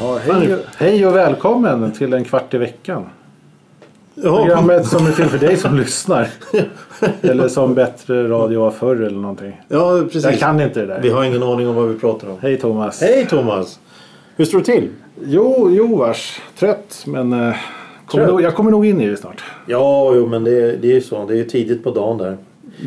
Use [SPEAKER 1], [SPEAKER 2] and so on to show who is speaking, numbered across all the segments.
[SPEAKER 1] Ja, hej, och- hej och välkommen till en kvart i veckan.
[SPEAKER 2] Jaha,
[SPEAKER 1] Programmet som är till för dig som lyssnar. Eller som bättre radio var förr eller någonting.
[SPEAKER 2] ja, precis.
[SPEAKER 1] Jag kan inte det
[SPEAKER 2] Vi
[SPEAKER 1] där.
[SPEAKER 2] har ingen aning om vad vi pratar om.
[SPEAKER 1] Hej Thomas.
[SPEAKER 2] Hej Thomas! Hur står det till?
[SPEAKER 1] Jo, jo vars. Trött men eh, kommer
[SPEAKER 2] Trött.
[SPEAKER 1] nog, jag kommer nog in i det snart.
[SPEAKER 2] Ja, jo, men det, är- det är ju så. Det är ju tidigt på dagen där.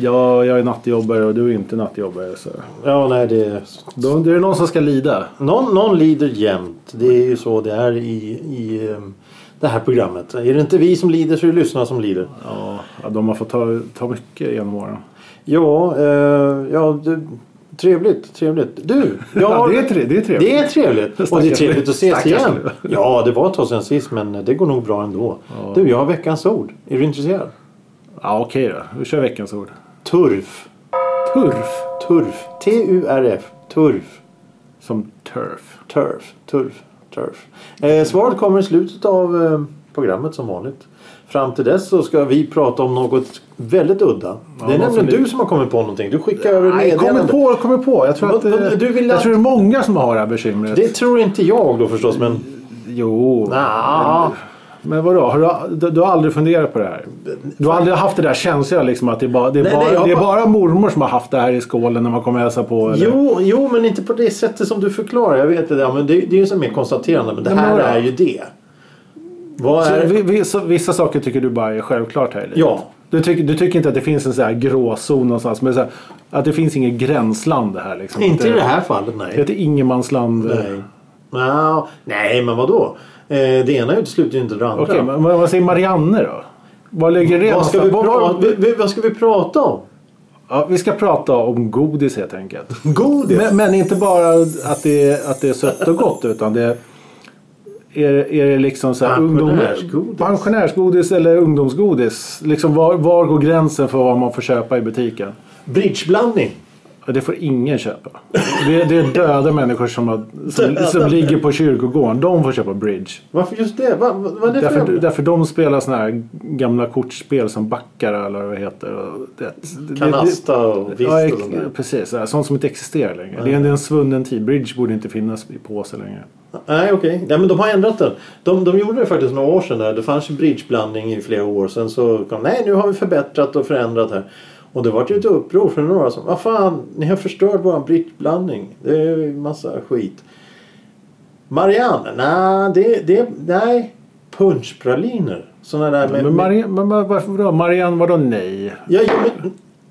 [SPEAKER 1] Ja, jag är nattjobbare och du är inte nattjobbare. Så.
[SPEAKER 2] Ja, nej, det är...
[SPEAKER 1] Då, då är det någon som ska lida.
[SPEAKER 2] Någon, någon lider jämt. Det är ju så det är i, i ehm, det här programmet. Är det inte vi som lider så är det lyssnarna som lider.
[SPEAKER 1] Ja, ja, de har fått ta, ta mycket genom åren.
[SPEAKER 2] Ja, eh, ja du, trevligt, trevligt. Du! Jag
[SPEAKER 1] Ja,
[SPEAKER 2] har-
[SPEAKER 1] det är, tre, det är trevligt.
[SPEAKER 2] Det är trevligt. Och det är
[SPEAKER 1] Stackars
[SPEAKER 2] trevligt att ses
[SPEAKER 1] stackars
[SPEAKER 2] igen. Ja, det var ett tag sedan sist men det går nog bra ändå.
[SPEAKER 1] Ja.
[SPEAKER 2] Du, jag har veckans ord. Är du intresserad?
[SPEAKER 1] Ja, okej då. Vi kör veckans ord.
[SPEAKER 2] Turf.
[SPEAKER 1] Turf.
[SPEAKER 2] Turf. T-U-R-F. Turf.
[SPEAKER 1] Som turf.
[SPEAKER 2] Turf. Turf. Turf. Eh, svaret kommer i slutet av eh, programmet som vanligt. Fram till dess så ska vi prata om något väldigt udda. det
[SPEAKER 1] något
[SPEAKER 2] är nämligen
[SPEAKER 1] som vi-
[SPEAKER 2] du som har kommit på någonting. Du skickar över
[SPEAKER 1] Nej, kommer
[SPEAKER 2] meddelande.
[SPEAKER 1] på, kommer på. Jag tror,
[SPEAKER 2] Vad-
[SPEAKER 1] att, eh,
[SPEAKER 2] vad- du vill
[SPEAKER 1] jag
[SPEAKER 2] att-
[SPEAKER 1] tror det är många som har det här bekymret.
[SPEAKER 2] Det tror inte jag då förstås men...
[SPEAKER 1] Jo.
[SPEAKER 2] Ah,
[SPEAKER 1] Men vadå, har du, du har aldrig funderat på det här? Du har aldrig haft det där känslan liksom att det är bara, det är
[SPEAKER 2] Nej,
[SPEAKER 1] bara,
[SPEAKER 2] nej, jag har
[SPEAKER 1] det är
[SPEAKER 2] bara-
[SPEAKER 1] bara mormor som har haft det här i skålen när man kommer och hälsar på? Eller?
[SPEAKER 2] Jo, jo, men inte på det sättet som du förklarar. Jag vet det där, men det, det är ju som mer konstaterande. Men det
[SPEAKER 1] Nej, men
[SPEAKER 2] här
[SPEAKER 1] vadå?
[SPEAKER 2] är ju det. Vad
[SPEAKER 1] Så,
[SPEAKER 2] är...
[SPEAKER 1] vi- vi- så, vissa saker tycker du bara är självklart här i livet?
[SPEAKER 2] Ja.
[SPEAKER 1] Du, tycker- du tycker inte att det finns en så här gråzon någonstans? Men så här, att det finns inget gränsland här liksom? Att
[SPEAKER 2] Inte i
[SPEAKER 1] det,
[SPEAKER 2] det här fallet,
[SPEAKER 1] Det
[SPEAKER 2] nej.
[SPEAKER 1] heter ingenmansland.
[SPEAKER 2] Nej, Nja, nej men vadå? Eh, det ena utesluter ju inte det andra.
[SPEAKER 1] Okej, men vad vad säger Marianne då? Var ligger det
[SPEAKER 2] vad, ska vi
[SPEAKER 1] någonstans? Var-
[SPEAKER 2] prata,
[SPEAKER 1] var-
[SPEAKER 2] vi, vi, vad ska vi prata om?
[SPEAKER 1] Ja, vi ska prata om godis helt enkelt.
[SPEAKER 2] Godis?
[SPEAKER 1] Men, men inte bara att det, är- att det är sött och gott utan det är, är det liksom så här
[SPEAKER 2] Pensionärsgodis.
[SPEAKER 1] ungdom, pensionärsgodis eller ungdomsgodis. Liksom var, var går gränsen för vad man får köpa i butiken?
[SPEAKER 2] Bridgeblandning?
[SPEAKER 1] Ja, Det får ingen köpa. Det, det är döda människor som, har, som, som ligger på kyrkogården. De får köpa bridge.
[SPEAKER 2] Varför just det? Va, va, vad är det för
[SPEAKER 1] Därför,
[SPEAKER 2] ämne?
[SPEAKER 1] därför de spelar såna här gamla kortspel som Baccarat eller vad det heter. Och det, det- det-
[SPEAKER 2] Kanasta och
[SPEAKER 1] Ja,
[SPEAKER 2] visst och
[SPEAKER 1] ex-
[SPEAKER 2] sånt där.
[SPEAKER 1] precis. Så här, Sånt som inte existerar längre. Det är en, det är en svunnen tid. Bridge borde inte finnas i påse längre.
[SPEAKER 2] Nej okej, Nej, men de har ändrat den. De, de gjorde det faktiskt några år sedan. Där. Det fanns ju bridgeblandning i flera år. Sen så kom nej nu har vi förbättrat och förändrat här. Och det var ju ett uppror för några som vad fan, ni har förstört våran bridgeblandning. Det är ju massa skit. Marianne, nej det, det, nej. Punschpraliner. Såna där med,
[SPEAKER 1] Men, Marianne, men var- varför då? Marianne, vadå nej?
[SPEAKER 2] jag, jag,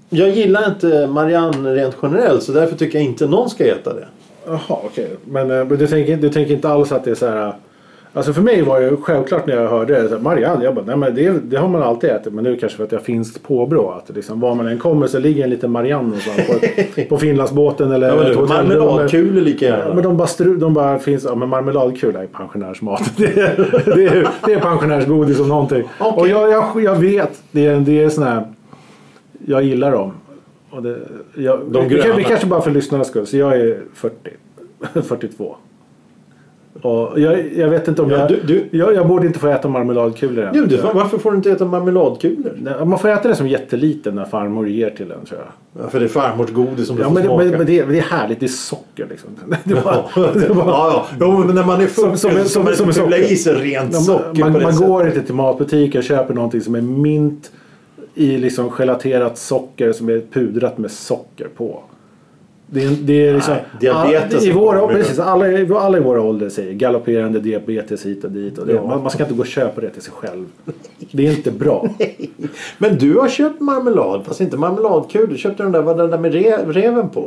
[SPEAKER 2] jag gillar inte Marianne rent generellt så därför tycker jag inte någon ska äta det.
[SPEAKER 1] Jaha, okej. Men, eh, men du, tänker, du tänker inte alls att det är så här... eh, Alltså för mig var det ju självklart när jag hörde det. Så här, Marianne, jag bara, nej men det, det har man alltid ätit. Men nu kanske för att jag har finskt påbrå. Att liksom, var man än kommer så ligger en liten Marianne någonstans. På, ett- på Finlandsbåten eller...
[SPEAKER 2] Ja, men
[SPEAKER 1] ett
[SPEAKER 2] du,
[SPEAKER 1] hotellrum.
[SPEAKER 2] marmeladkulor lika gärna.
[SPEAKER 1] Ja, Men de bara, stru, de bara finns, ja men marmeladkula är pensionärsmat. Det är, det är, det är pensionärsgodis om någonting.
[SPEAKER 2] Okej.
[SPEAKER 1] Och jag, jag, jag vet, det är, det är sån här, jag gillar dem. Och det, jag,
[SPEAKER 2] De
[SPEAKER 1] vi, kan-
[SPEAKER 2] gröna.
[SPEAKER 1] vi kanske bara för lyssnarnas skull, så jag är 40, 42. Och jag, jag vet inte om
[SPEAKER 2] Ja,
[SPEAKER 1] jag,
[SPEAKER 2] du- du-
[SPEAKER 1] jag, jag borde inte få äta marmeladkulor än.
[SPEAKER 2] Du, du, varför får du inte äta marmeladkulor?
[SPEAKER 1] Nej, Man får äta det som jätteliten när farmor ger till en tror jag.
[SPEAKER 2] Ja, för det är farmors godis som du
[SPEAKER 1] Ja,
[SPEAKER 2] får
[SPEAKER 1] men, det,
[SPEAKER 2] smaka.
[SPEAKER 1] men, men det, är- det är härligt, det är socker liksom. Det är bara, det är bara,
[SPEAKER 2] ja, ja. Jo, men när man är full
[SPEAKER 1] Som- som-
[SPEAKER 2] så
[SPEAKER 1] som-
[SPEAKER 2] man
[SPEAKER 1] som en
[SPEAKER 2] fyller
[SPEAKER 1] socker.
[SPEAKER 2] i sig rent
[SPEAKER 1] Ja,
[SPEAKER 2] socker
[SPEAKER 1] Alltså, man,
[SPEAKER 2] på det
[SPEAKER 1] man
[SPEAKER 2] sättet.
[SPEAKER 1] går inte till matbutiken och köper någonting som är mint i liksom gelaterat socker som är pudrat med socker på. Det är, det är liksom,
[SPEAKER 2] Nej, diabetes
[SPEAKER 1] all, i
[SPEAKER 2] är
[SPEAKER 1] våra,
[SPEAKER 2] farligt.
[SPEAKER 1] precis, alla, i- alla i våra ålder säger galopperande diabetes hit och dit. Och det,
[SPEAKER 2] Ja.
[SPEAKER 1] man, man ska inte gå och köpa det till sig själv. Det är inte bra.
[SPEAKER 2] Men du har köpt marmelad, fast inte marmeladkul. Du köpte den där, vad den där med re, reven på.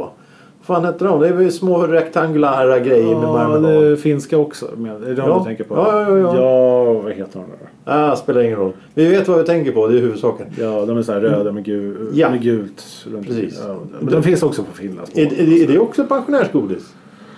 [SPEAKER 2] Vad fan hette de? Det är väl små rektangulära grejer med
[SPEAKER 1] Ja,
[SPEAKER 2] marmelad.
[SPEAKER 1] det finska också. Men är det de
[SPEAKER 2] Ja.
[SPEAKER 1] du tänker på?
[SPEAKER 2] Ja, ja, ja, ja.
[SPEAKER 1] vad heter de då?
[SPEAKER 2] Ah, spelar ingen roll. Vi vet vad vi tänker på, det är huvudsaken.
[SPEAKER 1] Ja, de är så här röda med, gul,
[SPEAKER 2] Ja.
[SPEAKER 1] med gult. runt-
[SPEAKER 2] Precis.
[SPEAKER 1] Ja, men de finns också på Finland.
[SPEAKER 2] Är, är, det- är det också pensionärsgodis?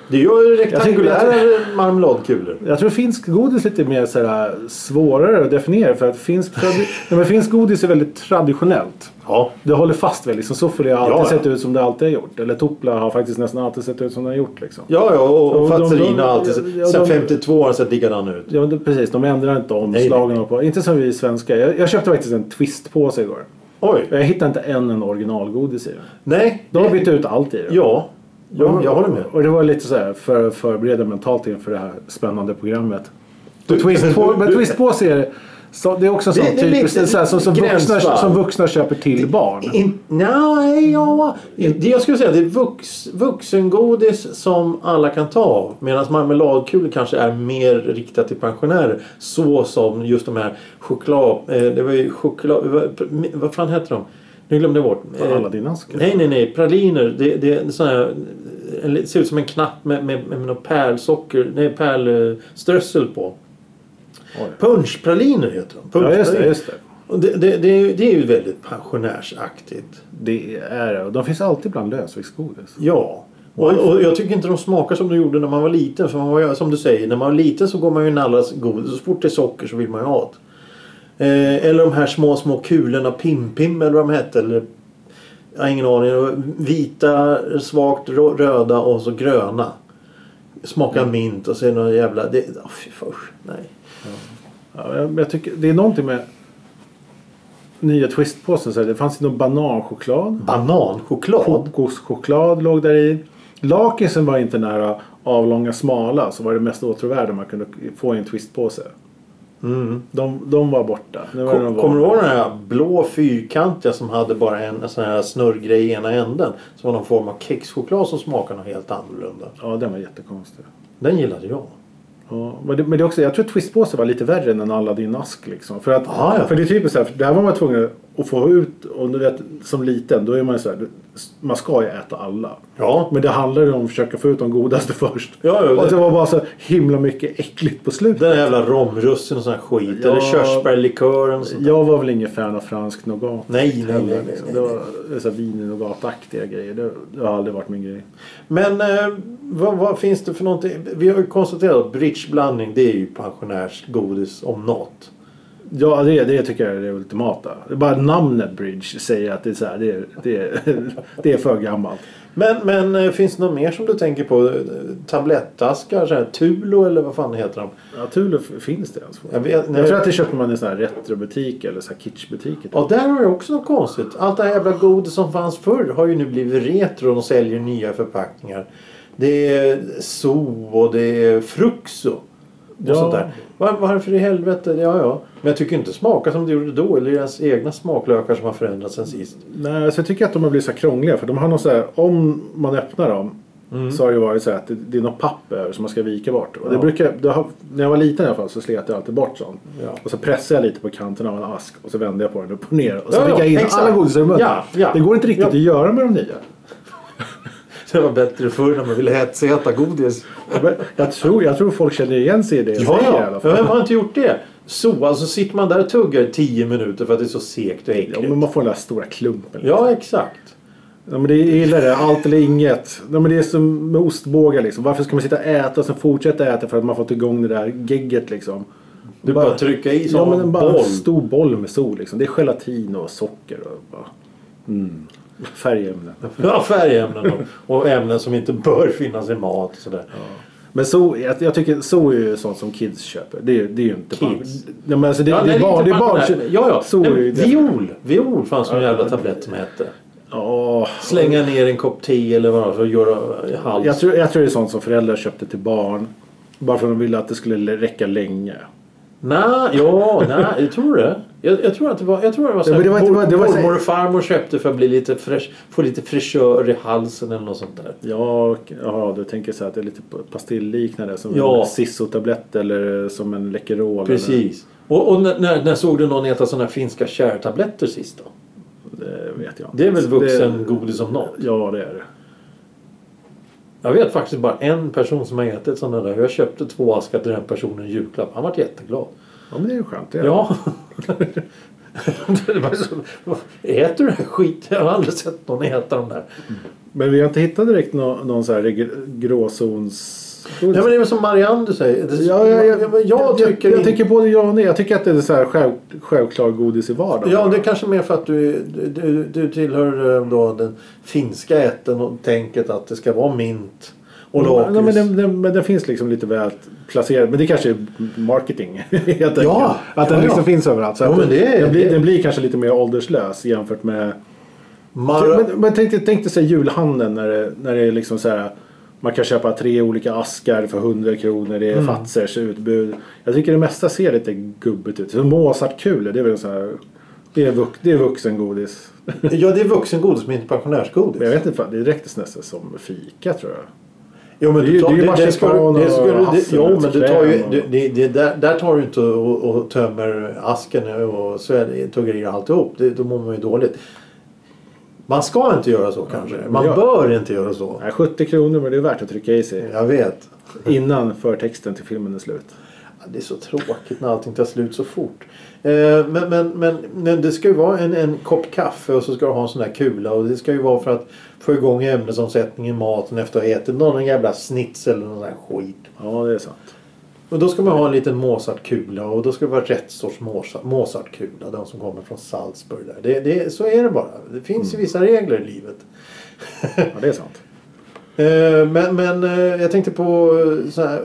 [SPEAKER 2] Det gör ju
[SPEAKER 1] Jag
[SPEAKER 2] rektangulära marmeladkulor.
[SPEAKER 1] Jag tror finsk godis är lite mer så här, svårare att definiera för att finsk, tradi- Nej, men finsk godis är väldigt traditionellt.
[SPEAKER 2] Ja.
[SPEAKER 1] Det håller fast väl. Liksom, Soffoli har
[SPEAKER 2] Ja,
[SPEAKER 1] alltid
[SPEAKER 2] ja.
[SPEAKER 1] sett ut som det alltid har gjort. Eller Topla har faktiskt nästan alltid sett ut som den har gjort. Liksom.
[SPEAKER 2] Ja, ja, och,
[SPEAKER 1] Och de-
[SPEAKER 2] och Fazzerina
[SPEAKER 1] de-
[SPEAKER 2] har alltid...
[SPEAKER 1] ja,
[SPEAKER 2] sen
[SPEAKER 1] de-
[SPEAKER 2] 52 har den sett likadan ut.
[SPEAKER 1] Ja, men det- precis, de ändrar inte omslagen. och på. Inte som vi svenskar. Jag, jag köpte faktiskt en twistpåse igår.
[SPEAKER 2] Oj!
[SPEAKER 1] Jag hittade inte en, en originalgodis i den.
[SPEAKER 2] Nej.
[SPEAKER 1] De har bytt ut allt i den.
[SPEAKER 2] Ja. ja, jag håller med.
[SPEAKER 1] Och det var lite så här för att förbereda mentalt inför det här spännande programmet. Du,
[SPEAKER 2] Du-
[SPEAKER 1] twist på,
[SPEAKER 2] du-
[SPEAKER 1] men
[SPEAKER 2] du-
[SPEAKER 1] twist på sig är det, så, det är också en sån
[SPEAKER 2] Det- det är
[SPEAKER 1] typisk,
[SPEAKER 2] lite
[SPEAKER 1] så här, som, som, vuxna,
[SPEAKER 2] gränsfall.
[SPEAKER 1] som vuxna köper till barn.
[SPEAKER 2] In, nej, ja. Det jag skulle säga det är vux, vuxengodis som alla kan ta av. Medan marmeladkulor kanske är mer riktat till pensionärer. Så som just de här choklad... Eh, det var ju choklad... Vad, vad fan hette de? Nu glömde jag bort. Eh,
[SPEAKER 1] Alla dina askar.
[SPEAKER 2] Nej, nej, nej. Praliner. Det, det är sån här, det ser ut som en knapp med, med, med något pärlsocker, nej pärlströssel på.
[SPEAKER 1] Oj.
[SPEAKER 2] Punschpraliner heter de.
[SPEAKER 1] Ja, just det.
[SPEAKER 2] Punschpraliner.
[SPEAKER 1] Just det.
[SPEAKER 2] Och det, det, det, är ju- det är ju väldigt pensionärsaktigt.
[SPEAKER 1] det är det. Och de finns alltid bland lösviktsgodis.
[SPEAKER 2] Ja. Och, och jag tycker inte de smakar som de gjorde när man var liten. För man var, ju- som du säger, när man var liten så går man ju nallas godis. Så fort det är socker så vill man ju ha det. Eh, eller de här små, små kulorna. Pim-Pim eller vad de hette. Eller, jag har ingen aning. Det var Vita, svagt rå- röda och så gröna. Smakar mint och så är det någon jävla... Det, oh, fy, usch, nej.
[SPEAKER 1] Ja, jag, men jag tycker, det är någonting med nya twistpåsen. Så här, det fanns ju någon bananchoklad.
[SPEAKER 2] Bananchoklad?
[SPEAKER 1] Kokoschoklad låg där i. Lakritsen var inte nära avlånga smala så var det mest åtråvärda man kunde få i en twistpåse.
[SPEAKER 2] Mm.
[SPEAKER 1] De, de var borta. Nu var det
[SPEAKER 2] Kom-
[SPEAKER 1] de
[SPEAKER 2] Kommer
[SPEAKER 1] var.
[SPEAKER 2] du ihåg den här blå fyrkantiga som hade bara en, en sån här snurrgrej i ena änden? Som var någon form av kexchoklad som smakade något helt annorlunda.
[SPEAKER 1] Ja, den var jättekonstig.
[SPEAKER 2] Den gillade jag.
[SPEAKER 1] Ja, men det, men det är också, jag tror twistpåsen var lite värre än en Aladdin-ask. Liksom. För, att,
[SPEAKER 2] Ah, ja.
[SPEAKER 1] för det är typiskt så här, för där var man tvungen att få ut, och du vet som liten, då är man ju så här, man ska ju äta alla.
[SPEAKER 2] Ja.
[SPEAKER 1] Men det handlar ju om att försöka få ut de godaste först.
[SPEAKER 2] Ja, ja,
[SPEAKER 1] och det
[SPEAKER 2] det-
[SPEAKER 1] var bara så himla mycket äckligt på slutet.
[SPEAKER 2] Den där jävla romrussin och sån här skit.
[SPEAKER 1] Ja.
[SPEAKER 2] Eller körsbärlikören och sånt.
[SPEAKER 1] Jag var väl ingen fan av fransk nougat.
[SPEAKER 2] Nej, nej, nej, nej,
[SPEAKER 1] liksom.
[SPEAKER 2] nej.
[SPEAKER 1] Det var det var så här vin i nougataktiga grejer. Det, det har aldrig varit min grej.
[SPEAKER 2] Men eh, vad, vad finns det för någonting? Vi har ju konstaterat att bridgeblandning det är ju pensionärsgodis om något.
[SPEAKER 1] Ja, det, det tycker jag är det ultimata. Det är Bara namnet Bridge säger att det är, så här, det är, det är, det är för gammalt.
[SPEAKER 2] Men, men eh, finns det något mer som du tänker på? Eh, Tablettaskar? Så här, Tulo eller vad fan heter de?
[SPEAKER 1] Ja, Thule f- finns det ens.
[SPEAKER 2] Jag
[SPEAKER 1] Jag,
[SPEAKER 2] vet-
[SPEAKER 1] tror att det köper man i sån här retrobutik eller så här kitschbutiker.
[SPEAKER 2] Ja, där har jag också något konstigt. Allt det här jävla godis som fanns förr har ju nu blivit retro och säljer nya förpackningar. Det är Zoo och det är Fruxo. Och
[SPEAKER 1] Ja.
[SPEAKER 2] sånt där. Var, varför i helvete? Ja, ja. Men jag tycker inte smaka som det gjorde då. Eller deras egna smaklökar som har förändrats sen sist.
[SPEAKER 1] Nej, så jag tycker att de har blivit så här krångliga. För de har någon så här, om man öppnar dem så har det varit så här att det, det är något papper som man ska vika bort. Och det
[SPEAKER 2] Mm. Ja.
[SPEAKER 1] brukar, det har, när jag var liten i alla fall så slet jag alltid bort sånt.
[SPEAKER 2] Ja.
[SPEAKER 1] Och så pressade jag lite på kanten av en ask och så vände jag på den upp och ner. Och så
[SPEAKER 2] Ja,
[SPEAKER 1] fick
[SPEAKER 2] ja,
[SPEAKER 1] jag in
[SPEAKER 2] exakt.
[SPEAKER 1] alla godisar i munnen.
[SPEAKER 2] Ja, ja.
[SPEAKER 1] Det går inte riktigt
[SPEAKER 2] Ja.
[SPEAKER 1] att göra med de nya.
[SPEAKER 2] Det var bättre förr när man ville hetsäta godis.
[SPEAKER 1] Men Jag tror, jag tror folk känner igen sig i det jag
[SPEAKER 2] Ja,
[SPEAKER 1] säger i
[SPEAKER 2] ja.
[SPEAKER 1] alla fall.
[SPEAKER 2] Vem har inte gjort det? Så alltså sitter man där och tuggar i tio minuter för att det är så segt och
[SPEAKER 1] Ja, men
[SPEAKER 2] äckligt.
[SPEAKER 1] man får den där stora klumpen.
[SPEAKER 2] Ja, exakt.
[SPEAKER 1] Ja, men det är illa det. Allt eller inget. Ja, men det är som med ostbågar liksom. Varför ska man sitta och äta och sen fortsätta äta för att man fått igång det där gegget liksom?
[SPEAKER 2] Du bara trycka i
[SPEAKER 1] ja,
[SPEAKER 2] som
[SPEAKER 1] men
[SPEAKER 2] en
[SPEAKER 1] bara
[SPEAKER 2] boll.
[SPEAKER 1] en stor boll med sol liksom. Det är gelatin och socker och bara... Mm. Färgämnen.
[SPEAKER 2] Ja, färgämnen och, och ämnen som inte bör finnas i mat. och Sådär.
[SPEAKER 1] Men så, jag, jag tycker så är ju sånt som kids köper. Det är, det är ju inte
[SPEAKER 2] Kids?
[SPEAKER 1] barn. Nej, men alltså det,
[SPEAKER 2] Ja,
[SPEAKER 1] det
[SPEAKER 2] nej,
[SPEAKER 1] är barn. Det
[SPEAKER 2] inte
[SPEAKER 1] är barn.
[SPEAKER 2] pensionär. Ja, ja.
[SPEAKER 1] Så
[SPEAKER 2] nej,
[SPEAKER 1] är ju
[SPEAKER 2] men
[SPEAKER 1] det.
[SPEAKER 2] viol. Viol fanns någon jävla tablett som hette.
[SPEAKER 1] Ja.
[SPEAKER 2] Slänga ner en kopp te eller vad det var för att göra hals.
[SPEAKER 1] Jag tror, jag tror det är sånt som föräldrar köpte till barn. Bara för att de ville att det skulle räcka länge.
[SPEAKER 2] Nej, ja, nej, jag tror det. Jag, jag tror att det var, jag tror det var så
[SPEAKER 1] Ja,
[SPEAKER 2] här,
[SPEAKER 1] men det var inte- det var så här-
[SPEAKER 2] mormor och farmor köpte för att bli lite fräsch, få lite fräschör i halsen eller något sånt där.
[SPEAKER 1] Ja, och- ja, du tänker så här att det är lite pastillliknande som
[SPEAKER 2] Ja.
[SPEAKER 1] en Siso-tablett eller som en Läkerol.
[SPEAKER 2] Precis. Och, och när, när, när såg du någon äta sådana här finska kärtabletter sist då?
[SPEAKER 1] Eller, det vet jag inte.
[SPEAKER 2] Det är väl vuxengodis som något?
[SPEAKER 1] Ja, det är det.
[SPEAKER 2] Jag vet faktiskt bara en person som har ätit sådana där. Jag köpte två askar till den personen i julklapp. Han var jätteglad.
[SPEAKER 1] Ja, men det är ju skönt. Det är. det.
[SPEAKER 2] Ja. det var så, äter du den här skiten? Jag har aldrig sett någon äta de där.
[SPEAKER 1] Men vi har inte hittat direkt någon, någon så här reg- gråzons...
[SPEAKER 2] Nej, men det är väl som Marianne du säger. Det,
[SPEAKER 1] Ja, ja, ja.
[SPEAKER 2] jag, jag tycker
[SPEAKER 1] jag,
[SPEAKER 2] inte-
[SPEAKER 1] tycker både ja och nej. Jag tycker att det är så här själv, självklar godis i vardagen.
[SPEAKER 2] Ja, det är kanske mer för att du, du, du tillhör eh, då den finska ätten och tänket att det ska vara mint och lakrits.
[SPEAKER 1] Ja, men, den, den, men den finns liksom lite väl placerad. Men det kanske är marketing helt enkelt.
[SPEAKER 2] Ja,
[SPEAKER 1] Att den
[SPEAKER 2] ja,
[SPEAKER 1] liksom
[SPEAKER 2] ja.
[SPEAKER 1] finns överallt. Så
[SPEAKER 2] Jo,
[SPEAKER 1] att
[SPEAKER 2] men det är-
[SPEAKER 1] den, blir,
[SPEAKER 2] det-
[SPEAKER 1] den blir kanske lite mer ålderslös jämfört med...
[SPEAKER 2] Mar-
[SPEAKER 1] Men, men tänk, dig- tänk dig så här julhandeln när det, när det är liksom så här... Man kan köpa tre olika askar för 100 kronor. Det är
[SPEAKER 2] Mm.
[SPEAKER 1] Fazers utbud. Jag tycker det mesta ser lite gubbigt ut. Så Mozartkulor, det är väl så här... Det är, vux, det är vuxengodis.
[SPEAKER 2] ja, det är vuxengodis men inte pensionärsgodis.
[SPEAKER 1] Men jag vet inte, fan, det räktes nästan som fika tror jag.
[SPEAKER 2] Jo, men
[SPEAKER 1] Det är ju-
[SPEAKER 2] du tar,
[SPEAKER 1] det är ju
[SPEAKER 2] det, det, ska,
[SPEAKER 1] marsipan
[SPEAKER 2] det, ska,
[SPEAKER 1] och
[SPEAKER 2] det, jo, men du tar ju,
[SPEAKER 1] hasselnötskräm och-
[SPEAKER 2] du, det, det, där, där tar du inte och, och tömmer asken och sväljer- tuggar i alltihop. Det, då mår man ju dåligt. Man ska inte göra så kanske. Man
[SPEAKER 1] jag-
[SPEAKER 2] bör inte göra så.
[SPEAKER 1] Nej, 70 kronor men det är värt att trycka i sig.
[SPEAKER 2] Jag vet.
[SPEAKER 1] Innan förtexten till filmen är slut.
[SPEAKER 2] Ja, Det är så tråkigt när allting tar slut så fort. Eh, Men, men, men, men det ska ju vara en, en kopp kaffe och så ska du ha en sån där kula. Och det ska ju vara för att få igång ämnesomsättningen i maten efter att ha ätit någon jävla schnitzel eller någon sån här skit.
[SPEAKER 1] Ja, det är sant.
[SPEAKER 2] Och då ska man ha en liten Mozartkula och då ska det vara rätt sorts Mozart- Mozartkula. Den som kommer från Salzburg. Där. Det, det, så är det bara. Det finns ju vissa regler i livet.
[SPEAKER 1] Ja, det är sant.
[SPEAKER 2] Eh, Men, men eh, jag tänkte på eh, så här.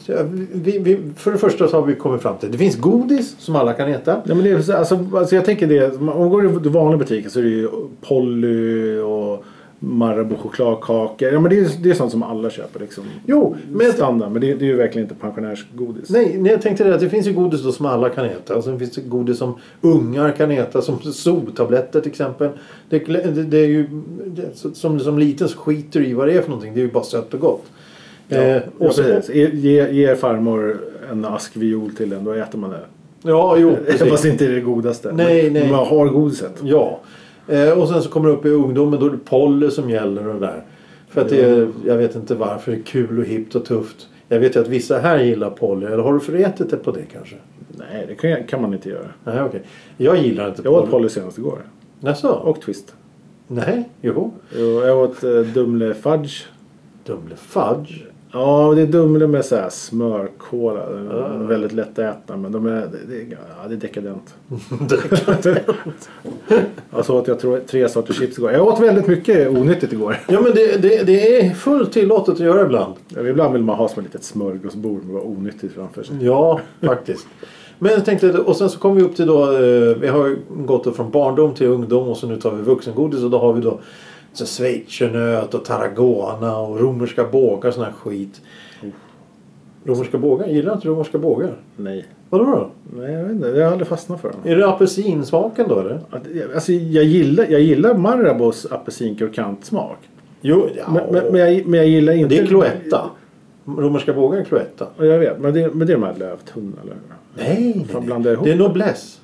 [SPEAKER 2] så här, Vi, vi, för det första så har vi kommit fram till det finns godis som alla kan äta.
[SPEAKER 1] Nej, men det är, så- alltså, alltså, jag tänker det, om man går i vanliga butiker så är det ju Polly och Marabou chokladkakor. Ja, men det, är, det är sånt som alla köper liksom.
[SPEAKER 2] Jo, men
[SPEAKER 1] Standard, men det, det är ju verkligen inte pensionärsgodis.
[SPEAKER 2] nej, nej, jag tänkte det att det finns ju godis då som alla kan äta. Och sen finns det godis som ungar kan äta som soltabletter till exempel. Det, det, det är ju det, så- som, som liten så skiter du i vad det är för någonting. Det är ju bara sött och gott. Eh,
[SPEAKER 1] ja,
[SPEAKER 2] och så,
[SPEAKER 1] precis. Ge, ge, ge farmor en ask viol till en, då äter man det.
[SPEAKER 2] ja, jo,
[SPEAKER 1] Fast
[SPEAKER 2] precis.
[SPEAKER 1] inte det godaste.
[SPEAKER 2] Nej,
[SPEAKER 1] men,
[SPEAKER 2] nej.
[SPEAKER 1] Man har godiset.
[SPEAKER 2] Ja. Eh, och sen så kommer det upp i ungdomen då är det Polly som gäller och det där. För att det
[SPEAKER 1] Mm.
[SPEAKER 2] är, jag vet inte varför, det är kul och hippt och tufft. Jag vet ju att vissa här gillar Polly. Eller har du förätit dig på det kanske?
[SPEAKER 1] Nej, det kan, kan man inte göra.
[SPEAKER 2] Nej, okej. Jag gillar inte
[SPEAKER 1] Jag åt Polly senast igår.
[SPEAKER 2] Jaså?
[SPEAKER 1] Och Twist.
[SPEAKER 2] Nej, jo.
[SPEAKER 1] Jo, jag åt eh, Dumle Fudge.
[SPEAKER 2] Dumle fudge.
[SPEAKER 1] Ja, det är Dumle med så här smörkola. De är Väldigt lättätna men de är, det, det, ja, det är dekadent. Jag så åt jag tror, tre sorters chips igår. Jag åt väldigt mycket onyttigt igår.
[SPEAKER 2] ja, men det, det, det är fullt tillåtet att göra ibland.
[SPEAKER 1] Ibland vill man ha som ett litet smörgåsbord med bara onyttigt framför sig.
[SPEAKER 2] Ja, faktiskt. Men jag tänkte, och sen så kom vi upp till då, eh, vi har ju gått då från barndom till ungdom och så nu tar vi vuxengodis och då har vi då så schweizernöt och tarragona och romerska bågar och sån här skit. Romerska bågar? Gillar du inte romerska bågar?
[SPEAKER 1] Nej.
[SPEAKER 2] Vadå då?
[SPEAKER 1] Nej, jag vet inte. Jag har aldrig fastnat för dem.
[SPEAKER 2] Är det apelsinsmaken då eller?
[SPEAKER 1] Att- Alltså, jag gillar, jag gillar Marabous apelsinkrokant-smak.
[SPEAKER 2] Jo, ja.
[SPEAKER 1] Men, men, men, jag, men jag gillar inte...
[SPEAKER 2] det är Cloetta. Romerska bågar är Cloetta.
[SPEAKER 1] Ja, Jag vet, men det, men det är de här Lövtunna eller?
[SPEAKER 2] Nej, nej,
[SPEAKER 1] Fan,
[SPEAKER 2] nej.
[SPEAKER 1] blanda ihop.
[SPEAKER 2] det är Noblesse.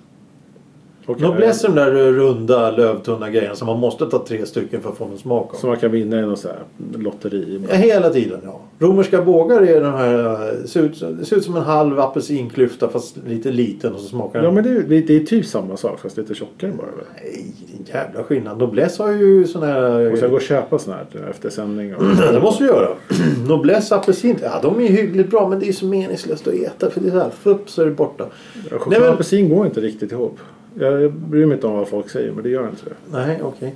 [SPEAKER 1] Okay,
[SPEAKER 2] Noblesse är de där eh, runda lövtunna grejerna som man måste ta tre stycken för att få någon smak av.
[SPEAKER 1] Som man kan vinna i något så här lotteri.
[SPEAKER 2] Ja, Hela tiden ja. Romerska bågar är den här, eh, ser ut, det ser ut som en halv apelsinklyfta fast lite liten och så smakar den.
[SPEAKER 1] Ja men det, är ju- det är typ samma sak fast lite tjockare bara väl?
[SPEAKER 2] Nej, det är en jävla skillnad. Noblesse har ju sån här...
[SPEAKER 1] Och sen gå och köpa sån här efter sändning. Och...
[SPEAKER 2] Ja, det måste vi göra. Noblesse apelsin, ja de är ju hyggligt bra men det är ju så meningslöst att äta för det är så här, fupp så är det borta.
[SPEAKER 1] Choklad
[SPEAKER 2] Nej,
[SPEAKER 1] och
[SPEAKER 2] men-
[SPEAKER 1] apelsin går inte riktigt ihop. Jag jag bryr mig inte om vad folk säger men det gör inte det.
[SPEAKER 2] Nej, okej.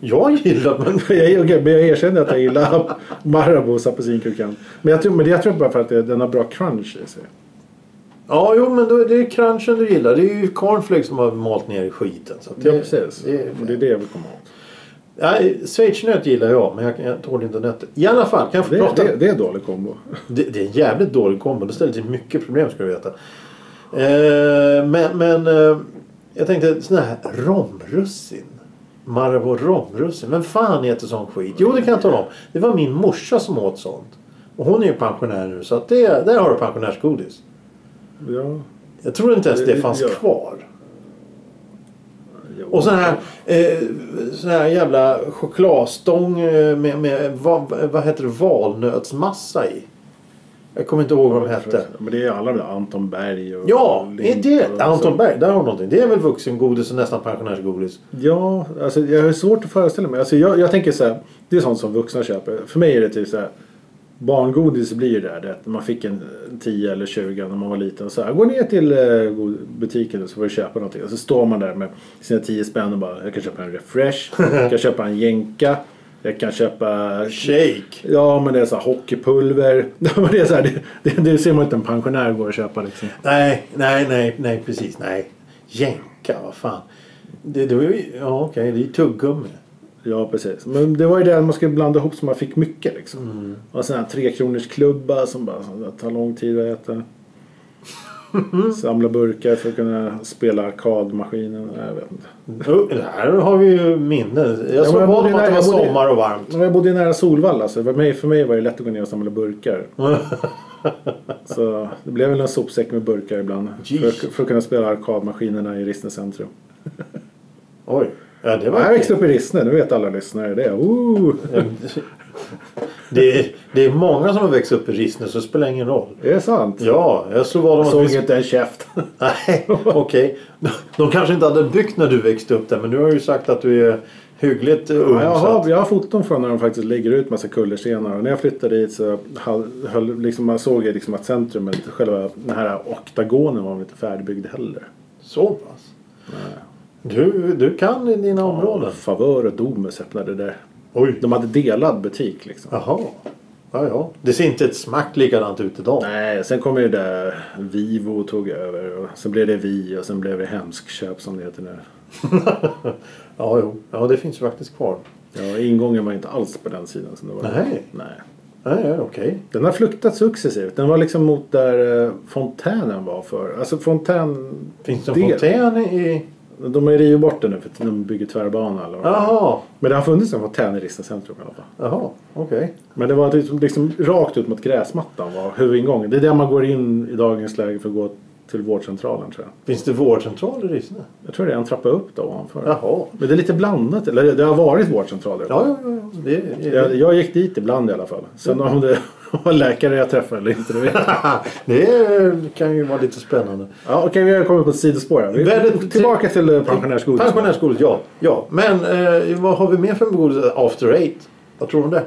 [SPEAKER 2] jag gillar men...
[SPEAKER 1] Jag, okay, men jag erkänner att jag gillar Marabous apelsinkrokant. Men jag tror, men det- jag tror bara för att det, den har bra crunch i sig.
[SPEAKER 2] Ja, jo men då är det är crunchen du gillar. Det är ju cornflakes som har malt ner i skiten. Så att
[SPEAKER 1] Ja
[SPEAKER 2] det-
[SPEAKER 1] precis.
[SPEAKER 2] det-
[SPEAKER 1] och det är det jag vill komma åt.
[SPEAKER 2] Nej, schweizernöt gillar jag men jag, jag tål inte nötter. I alla fall, kan jag få
[SPEAKER 1] Det,
[SPEAKER 2] prata?
[SPEAKER 1] det, det är en dålig kombo.
[SPEAKER 2] Det, det är en jävligt dålig kombo. Det ställer till mycket problem ska du veta. Eh, men men eh, jag tänkte såna här romrussin. Marabou romrussin. Vem fan äter sån skit? Jo det kan jag tala om. Det var min morsa som åt sånt. Och hon är ju pensionär nu så att det, där har du pensionärsgodis.
[SPEAKER 1] Ja.
[SPEAKER 2] Jag tror inte ens det
[SPEAKER 1] Det-
[SPEAKER 2] fanns
[SPEAKER 1] ja.
[SPEAKER 2] kvar.
[SPEAKER 1] Jo.
[SPEAKER 2] Och sån här, eh, sån här jävla chokladstång eh, med, med vad, vad heter det, valnötsmassa i. Jag kommer inte ihåg vad de hette.
[SPEAKER 1] Men det är alla de där Anton Berg och...
[SPEAKER 2] Ja,
[SPEAKER 1] och
[SPEAKER 2] är
[SPEAKER 1] Lind och-
[SPEAKER 2] det Anton Berg? Där har du någonting. Det är väl vuxengodis och nästan pensionärsgodis.
[SPEAKER 1] Ja, alltså jag har svårt att föreställa mig. Alltså jag, jag tänker så här, det är sånt som vuxna köper. För mig är det typ så här, barngodis blir ju det här, det att man fick en 10 eller 20 när man var liten. Så här, gå ner till eh, go- butiken och så får du köpa någonting. Och så står man där med sina 10 spänn och bara, jag kan köpa en refresh, jag kan köpa en jenka, jag kan köpa
[SPEAKER 2] Shake!
[SPEAKER 1] Ja men det är så här hockeypulver. Ja, men det, är så här, det, det, det ser man inte en pensionär gå och köpa liksom.
[SPEAKER 2] Nej, nej, nej, nej, precis. Nej. Jänka, vad fan. Det, det var ju... Ja, okej. Det är ju tuggummi.
[SPEAKER 1] Ja precis. Men det var ju det man skulle blanda ihop så man fick mycket liksom.
[SPEAKER 2] Mm.
[SPEAKER 1] Och sådana här trekronorsklubbar som bara så, det tar lång tid att äta. Samla burkar för att kunna spela arkadmaskinen. Nej, Jag vet inte.
[SPEAKER 2] Jo, Det här har vi ju minnen. Jag
[SPEAKER 1] men
[SPEAKER 2] såg
[SPEAKER 1] jag
[SPEAKER 2] på
[SPEAKER 1] bodde
[SPEAKER 2] honom att
[SPEAKER 1] nära-
[SPEAKER 2] det var
[SPEAKER 1] jag bodde-
[SPEAKER 2] sommar och varmt.
[SPEAKER 1] Men Jag bodde ju nära Solvalla så för mig, för mig var det lätt att gå ner och samla burkar. så det blev väl en sopsäck med burkar ibland. För,
[SPEAKER 2] Jeez.
[SPEAKER 1] att- för att kunna spela arkadmaskinerna i Rissne centrum.
[SPEAKER 2] Oj. Ja, det var...
[SPEAKER 1] Jag växte upp i Rissne, nu vet alla lyssnare det. Ooh.
[SPEAKER 2] Det är, det är många som har växt upp i Rissne så det spelar ingen roll.
[SPEAKER 1] Det är sant.
[SPEAKER 2] Ja, jag slog vad om
[SPEAKER 1] Jag
[SPEAKER 2] att vi
[SPEAKER 1] såg inte en käft.
[SPEAKER 2] Nej, okej. De kanske inte hade byggt när du växte upp där men du har ju sagt att du är hyggligt eh, ung.
[SPEAKER 1] Ja, jag,
[SPEAKER 2] så att-
[SPEAKER 1] har, jag har foton från när de faktiskt lägger ut massa kullerstenar. Och när jag flyttade dit så hall- höll, liksom, man såg ju liksom att centrumet, själva den här oktagonen var väl inte färdigbyggd heller.
[SPEAKER 2] Så pass? Du, du kan i dina områden?
[SPEAKER 1] Favör och Domus öppnade där.
[SPEAKER 2] Oj.
[SPEAKER 1] De hade delad butik liksom.
[SPEAKER 2] Jaha. Ja, ja. Det ser inte ett smack likadant ut idag.
[SPEAKER 1] Nej, sen kom ju det där Vivo och tog över. Och sen blev det Vi och sen blev det Hemskköp som det heter nu.
[SPEAKER 2] Ja, jo. Ja, det finns ju faktiskt kvar.
[SPEAKER 1] Ja, ingången var inte alls på den sidan som det var.
[SPEAKER 2] Nej.
[SPEAKER 1] Nej.
[SPEAKER 2] Nej, ja, okej.
[SPEAKER 1] Den har fluktat successivt. Den var liksom mot där eh, fontänen var för. Alltså fontän...
[SPEAKER 2] Finns det en
[SPEAKER 1] del-
[SPEAKER 2] fontän i...
[SPEAKER 1] De har ju rivit bort den nu för att de bygger tvärbana eller vad det är.
[SPEAKER 2] Jaha.
[SPEAKER 1] Men det har funnits en fontän i Rissne centrum i alla fall.
[SPEAKER 2] Jaha, okej.
[SPEAKER 1] Men det var liksom, liksom rakt ut mot gräsmattan var huvudingången. Det är där man går in i dagens läge för att gå till vårdcentralen tror jag.
[SPEAKER 2] Finns det vårdcentral i Rissne?
[SPEAKER 1] Jag tror det är en trappa upp då ovanför.
[SPEAKER 2] Jaha.
[SPEAKER 1] Men det är lite blandat. Eller det har varit vårdcentraler.
[SPEAKER 2] Ja, ja, ja. ja. Det, det,
[SPEAKER 1] Jag, jag gick dit ibland i alla fall. Sen om det var läkare jag träffade eller inte, det vet jag.
[SPEAKER 2] det kan ju vara lite spännande.
[SPEAKER 1] Ja, Okej, vi har kommit på ett sidospår här. Vi,
[SPEAKER 2] Väldigt-
[SPEAKER 1] tillbaka till eh, pensionärsgodis.
[SPEAKER 2] Pensionärsgodis, ja. ja. Men eh, vad har vi mer för godis? After Eight? Vad tror du om det?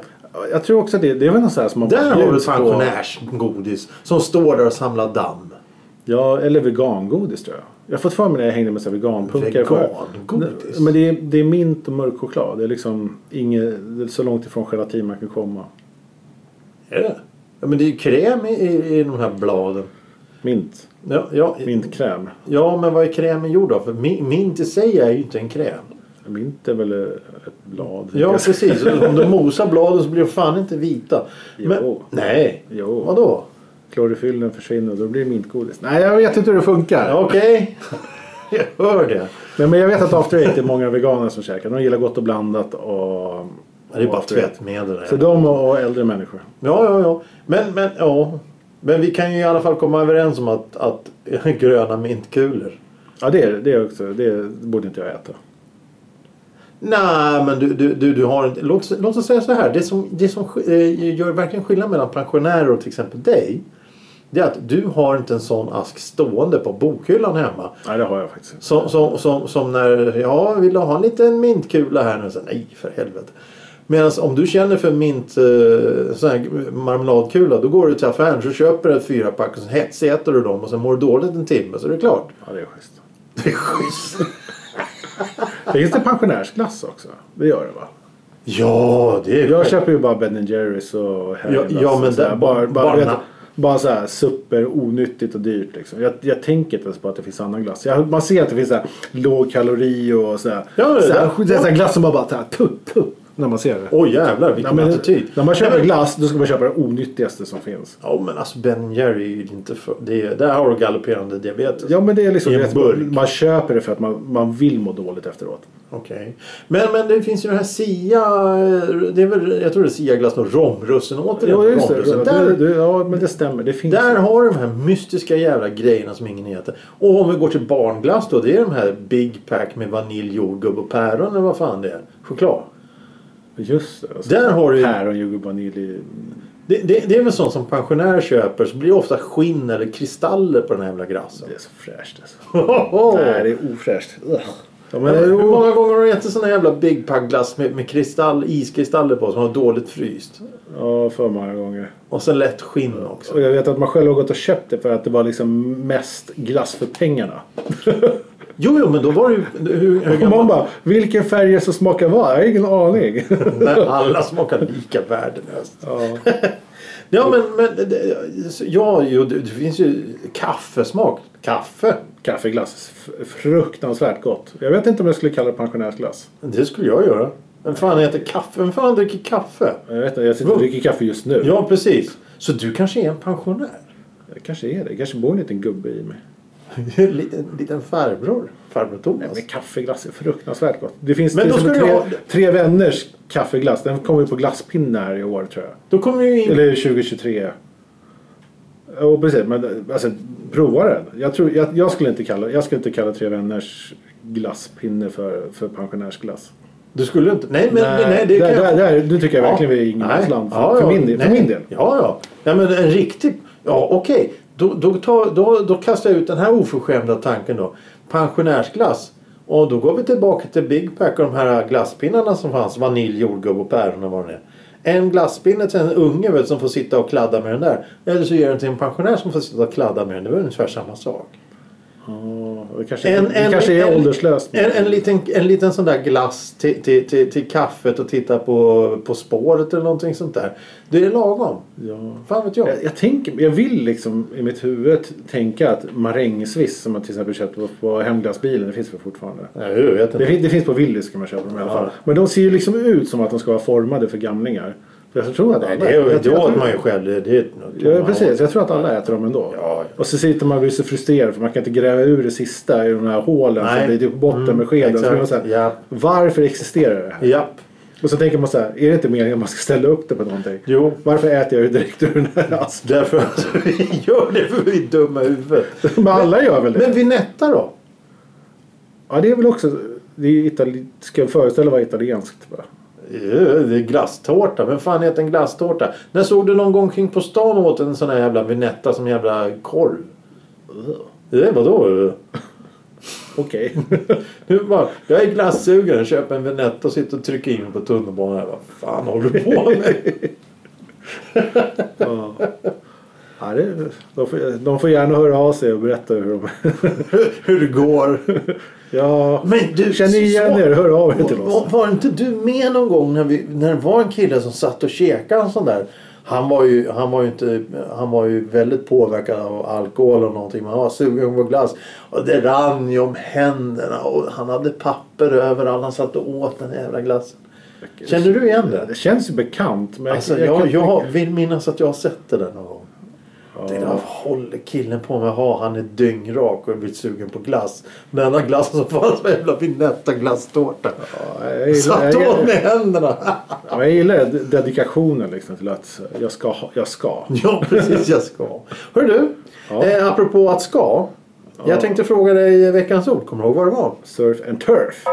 [SPEAKER 1] Jag tror också det. Det är väl något så här som man
[SPEAKER 2] Där
[SPEAKER 1] bara
[SPEAKER 2] har du ett
[SPEAKER 1] bjuds på.
[SPEAKER 2] pensionärsgodis som står där och samlar damm.
[SPEAKER 1] Ja, eller vegangodis tror jag. Jag har fått för mig när jag hängde med så här veganpunkare.
[SPEAKER 2] Vegangodis?
[SPEAKER 1] förr. Men det är, det är mint och mörk choklad. Det är liksom inget, det är så långt ifrån gelatin man kan komma.
[SPEAKER 2] Är det? Ja, men det är ju kräm i, i, i de här bladen.
[SPEAKER 1] Mint.
[SPEAKER 2] Ja, ja,
[SPEAKER 1] Mintkräm.
[SPEAKER 2] ja, men vad är krämen gjord av? För min- mint i sig är ju inte en kräm.
[SPEAKER 1] Mint är väl eh, ett blad?
[SPEAKER 2] Ja, precis. Om du mosar bladen så blir de fan inte vita. Men,
[SPEAKER 1] Jo.
[SPEAKER 2] nej.
[SPEAKER 1] Jo.
[SPEAKER 2] Vadå?
[SPEAKER 1] Klorofyllen försvinner och då blir det mintgodis. Nej, jag vet inte hur det funkar.
[SPEAKER 2] Ja, Okej. Jag hör det.
[SPEAKER 1] Men, men jag vet att After Eight är många veganer som käkar. De gillar gott och blandat och...
[SPEAKER 2] Ja, Det är bara
[SPEAKER 1] After Eight.
[SPEAKER 2] tvättmedel.
[SPEAKER 1] Så
[SPEAKER 2] där.
[SPEAKER 1] de och, och äldre människor.
[SPEAKER 2] Ja, ja, ja. Men, men, ja. Men vi kan ju i alla fall komma överens om att, att gröna mintkulor.
[SPEAKER 1] Ja, det, är- det, är också, det borde inte jag äta.
[SPEAKER 2] Nej, men du, du, du, du har inte... Låt, oss- låt oss säga så här. Det som, det som sk- eh, gör verkligen skillnad mellan pensionärer och till exempel dig. Det är att du har inte en sån ask stående på bokhyllan hemma.
[SPEAKER 1] Nej, det har jag faktiskt inte.
[SPEAKER 2] Som, som, som, som när, ja, vill du ha en liten mintkula här nu? Så, Nej, för helvete. Medan om du känner för mint, eh, sån här marmeladkula, då går du till affären så köper du ett fyrapack och så hetsäter du dem och sen mår du dåligt en timme så är det klart.
[SPEAKER 1] Ja, det är schysst.
[SPEAKER 2] Det är schysst.
[SPEAKER 1] Finns det pensionärsglass också? Det gör det va?
[SPEAKER 2] Ja, det är
[SPEAKER 1] Jag
[SPEAKER 2] schysst.
[SPEAKER 1] köper ju bara Ben Jerrys och Häradas
[SPEAKER 2] Ja, ja, men
[SPEAKER 1] och så här.
[SPEAKER 2] det-
[SPEAKER 1] bara, bara,
[SPEAKER 2] bara-
[SPEAKER 1] du vet, bara så här super onyttigt och dyrt liksom. Jag, jag tänker inte ens på att det finns annan glass. Jag, man ser att det finns så här låg kalori och så här,
[SPEAKER 2] Ja, det-
[SPEAKER 1] så här, det är så här glass som bara bara så här, tupp, tupp när man ser det.
[SPEAKER 2] Åh jävlar
[SPEAKER 1] Ja,
[SPEAKER 2] vilken
[SPEAKER 1] men,
[SPEAKER 2] attityd.
[SPEAKER 1] när man köper glass då ska man köpa det onyttigaste som finns.
[SPEAKER 2] Ja men alltså Ben Jerry är ju inte för... Det är, där har du galopperande diabetes.
[SPEAKER 1] Ja men det är liksom
[SPEAKER 2] I en
[SPEAKER 1] rätt-
[SPEAKER 2] burk.
[SPEAKER 1] man köper det för att man, man vill må dåligt efteråt.
[SPEAKER 2] Okej. Men, men det finns ju den här Sia... Det är väl, jag tror det är Sia-glass och romrussin återigen.
[SPEAKER 1] Ja, just det.
[SPEAKER 2] Romrussin.
[SPEAKER 1] Du-
[SPEAKER 2] Där,
[SPEAKER 1] du, ja men det stämmer. Det finns
[SPEAKER 2] där har du de här mystiska jävla grejerna som ingen äter. Och om vi går till barnglass då. Det är de här Big Pack med vanilj, jordgubb och päron eller vad fan det är. Choklad.
[SPEAKER 1] Just det. alltså. Och så
[SPEAKER 2] Där har du ju-
[SPEAKER 1] Päron, jordgubb, vanilj.
[SPEAKER 2] Det, det, det är väl sånt som pensionärer köper så blir det ofta skinn eller kristaller på den här jävla glassen.
[SPEAKER 1] Det är så fräscht alltså.
[SPEAKER 2] Hoho!
[SPEAKER 1] Nej, det är ofräscht. Ugh. Ja, men,
[SPEAKER 2] Hur
[SPEAKER 1] jo.
[SPEAKER 2] många gånger har du ätit sån här jävla Big Pack-glass med, med kristall, iskristaller på som har dåligt fryst?
[SPEAKER 1] ja, för många gånger.
[SPEAKER 2] Och sen lätt skinn också.
[SPEAKER 1] Och jag vet att man själv har gått och köpt det för att det var liksom mest glass för pengarna.
[SPEAKER 2] Jo, jo, men då var det ju... Hur, hur
[SPEAKER 1] Och man
[SPEAKER 2] gammal?
[SPEAKER 1] bara, vilken färg är det som smakar vad? Jag har ingen aning.
[SPEAKER 2] Nej, alla smakar lika värdelöst.
[SPEAKER 1] ja.
[SPEAKER 2] Ja, men... men det- alltså, ja, jo, det, det finns ju kaffesmak. Kaffe?
[SPEAKER 1] Kaffeglass, f- fruktansvärt gott. Jag vet inte om jag skulle kalla det pensionärsglass.
[SPEAKER 2] Det skulle jag göra. Vem fan äter kaffe? Vem fan dricker kaffe?
[SPEAKER 1] Jag vet inte, jag sitter och dricker kaffe just nu.
[SPEAKER 2] Ja, precis. Så du kanske är en pensionär?
[SPEAKER 1] Jag kanske är det. Jag kanske bor en liten gubbe i mig.
[SPEAKER 2] En liten, liten farbror. Farbror Thomas.
[SPEAKER 1] Men kaffeglass är fruktansvärt gott. Det finns
[SPEAKER 2] Men
[SPEAKER 1] till
[SPEAKER 2] då
[SPEAKER 1] exempel
[SPEAKER 2] ska
[SPEAKER 1] tre,
[SPEAKER 2] du
[SPEAKER 1] tre
[SPEAKER 2] ha-
[SPEAKER 1] vänners kaffeglass. Den kommer ju på glasspinne här i år tror jag.
[SPEAKER 2] Då kommer ju in...
[SPEAKER 1] Eller 2023. Jo precis, men alltså, prova den. Jag, tror, jag, jag, skulle inte kalla, jag skulle inte kalla Tre Vänners glasspinne för, för pensionärsglass.
[SPEAKER 2] Du skulle inte... Nej, men nej, det kan
[SPEAKER 1] där,
[SPEAKER 2] jag...
[SPEAKER 1] där, där, nu tycker jag verkligen vi är i
[SPEAKER 2] Nej.
[SPEAKER 1] ingenmansland. För,
[SPEAKER 2] Ja,
[SPEAKER 1] för,
[SPEAKER 2] ja,
[SPEAKER 1] min del- för
[SPEAKER 2] nej.
[SPEAKER 1] min del.
[SPEAKER 2] Ja, ja. Nej, men en riktig... Ja, okej. Då, då, tar- då, då kastar jag ut den här oförskämda tanken då. Pensionärsglass. Och då går vi tillbaka till Big Pack och de här glasspinnarna som fanns. Vanilj, jordgubb och päron och vad det är. En glasspinne till en unge vet, som får sitta och kladda med den där. Eller så ger den till en pensionär som får sitta och kladda med den. Det är väl ungefär samma sak.
[SPEAKER 1] Ja, det kanske,
[SPEAKER 2] En-
[SPEAKER 1] det
[SPEAKER 2] en-
[SPEAKER 1] kanske är
[SPEAKER 2] en-
[SPEAKER 1] ålderslöst.
[SPEAKER 2] En, en, liten, en liten sån där glass till, till, till, till kaffet och titta på På spåret eller någonting sånt där. Det är lagom.
[SPEAKER 1] Ja.
[SPEAKER 2] Fan vet jag.
[SPEAKER 1] Jag, jag, tänker, jag vill liksom i mitt huvud tänka att marängsviss som man till exempel köpte på, på hemglassbilen, det finns väl fortfarande.
[SPEAKER 2] Nej, jag vet
[SPEAKER 1] Det
[SPEAKER 2] inte.
[SPEAKER 1] finns, det finns på Willys kan man köpa dem i alla
[SPEAKER 2] Ja.
[SPEAKER 1] fall. Men de ser ju liksom ut som att de ska vara formade för gamlingar. För jag tror att alla...
[SPEAKER 2] Nej, det, är,
[SPEAKER 1] jag,
[SPEAKER 2] det
[SPEAKER 1] jag,
[SPEAKER 2] åt
[SPEAKER 1] tror-
[SPEAKER 2] man ju själv. Det, det, är något
[SPEAKER 1] ja,
[SPEAKER 2] man åt.
[SPEAKER 1] precis, jag tror att alla äter dem ändå.
[SPEAKER 2] Ja, ja.
[SPEAKER 1] Och så sitter man och blir så frustrerad för man kan inte gräva ur det sista i de här hålen
[SPEAKER 2] Nej.
[SPEAKER 1] som blir typ botten
[SPEAKER 2] Mm,
[SPEAKER 1] med skeden. Så
[SPEAKER 2] exakt.
[SPEAKER 1] blir man så här,
[SPEAKER 2] Ja.
[SPEAKER 1] Varför existerar det här?
[SPEAKER 2] Japp.
[SPEAKER 1] Och så tänker man så här, är det inte meningen att man ska ställa upp det på någonting?
[SPEAKER 2] Jo.
[SPEAKER 1] Varför äter jag det direkt ur den här asken?
[SPEAKER 2] Därför alltså, vi gör det för vi är dumma i huvudet.
[SPEAKER 1] Men alla gör väl det?
[SPEAKER 2] Men Vinetta då?
[SPEAKER 1] Ja, det är väl också... Det är ju itali- ska jag föreställa vara italienskt va?
[SPEAKER 2] Ja, Det är glasstårta. Vem fan äter en glasstårta? När såg du någon gång kring på stan och åt en sån här jävla Vinetta som jävla korv? Det vadå?
[SPEAKER 1] Okej.
[SPEAKER 2] Nu bara, jag är glassugaren, köper en Vinetta och sitter och trycker in på tunnelbanan. Jag bara, fan håller du på med?
[SPEAKER 1] ja. Ja, det, de, får, de får gärna höra av sig och berätta hur de...
[SPEAKER 2] Hur det går.
[SPEAKER 1] ja,
[SPEAKER 2] Men du,
[SPEAKER 1] känner ni igen
[SPEAKER 2] så-
[SPEAKER 1] er, hör av er till oss.
[SPEAKER 2] Var, var inte du med någon gång när, vi, när det var en kille som satt och käkade en sån där? Han var ju, han var ju, inte, han var ju väldigt påverkad av alkohol och någonting. Men han var sugen på glass. Och det rann ju om händerna och han hade papper överallt. Han satt och åt den jävla glassen. Känner du igen det?
[SPEAKER 1] Det känns ju bekant. Men
[SPEAKER 2] Alltså,
[SPEAKER 1] jag,
[SPEAKER 2] jag,
[SPEAKER 1] kan-
[SPEAKER 2] jag vill minnas att jag har sett det där någon gång. Det där håller killen på med. Ha, han är dyngrak och har blivit sugen på glass. Den enda glassen som fanns var jävla Vinetta glasstårta.
[SPEAKER 1] ja, jag, gillar,
[SPEAKER 2] Satt
[SPEAKER 1] jag,
[SPEAKER 2] åt
[SPEAKER 1] jag,
[SPEAKER 2] med händerna.
[SPEAKER 1] jag, gillar dedikationen liksom till att jag ska. ha- Jag ska.
[SPEAKER 2] ja, precis. Jag ska. Hör du,
[SPEAKER 1] Ja.
[SPEAKER 2] eh, apropå att ska. Jag tänkte fråga dig eh, veckans ord. Kommer du ihåg vad det var?
[SPEAKER 1] Surf and turf.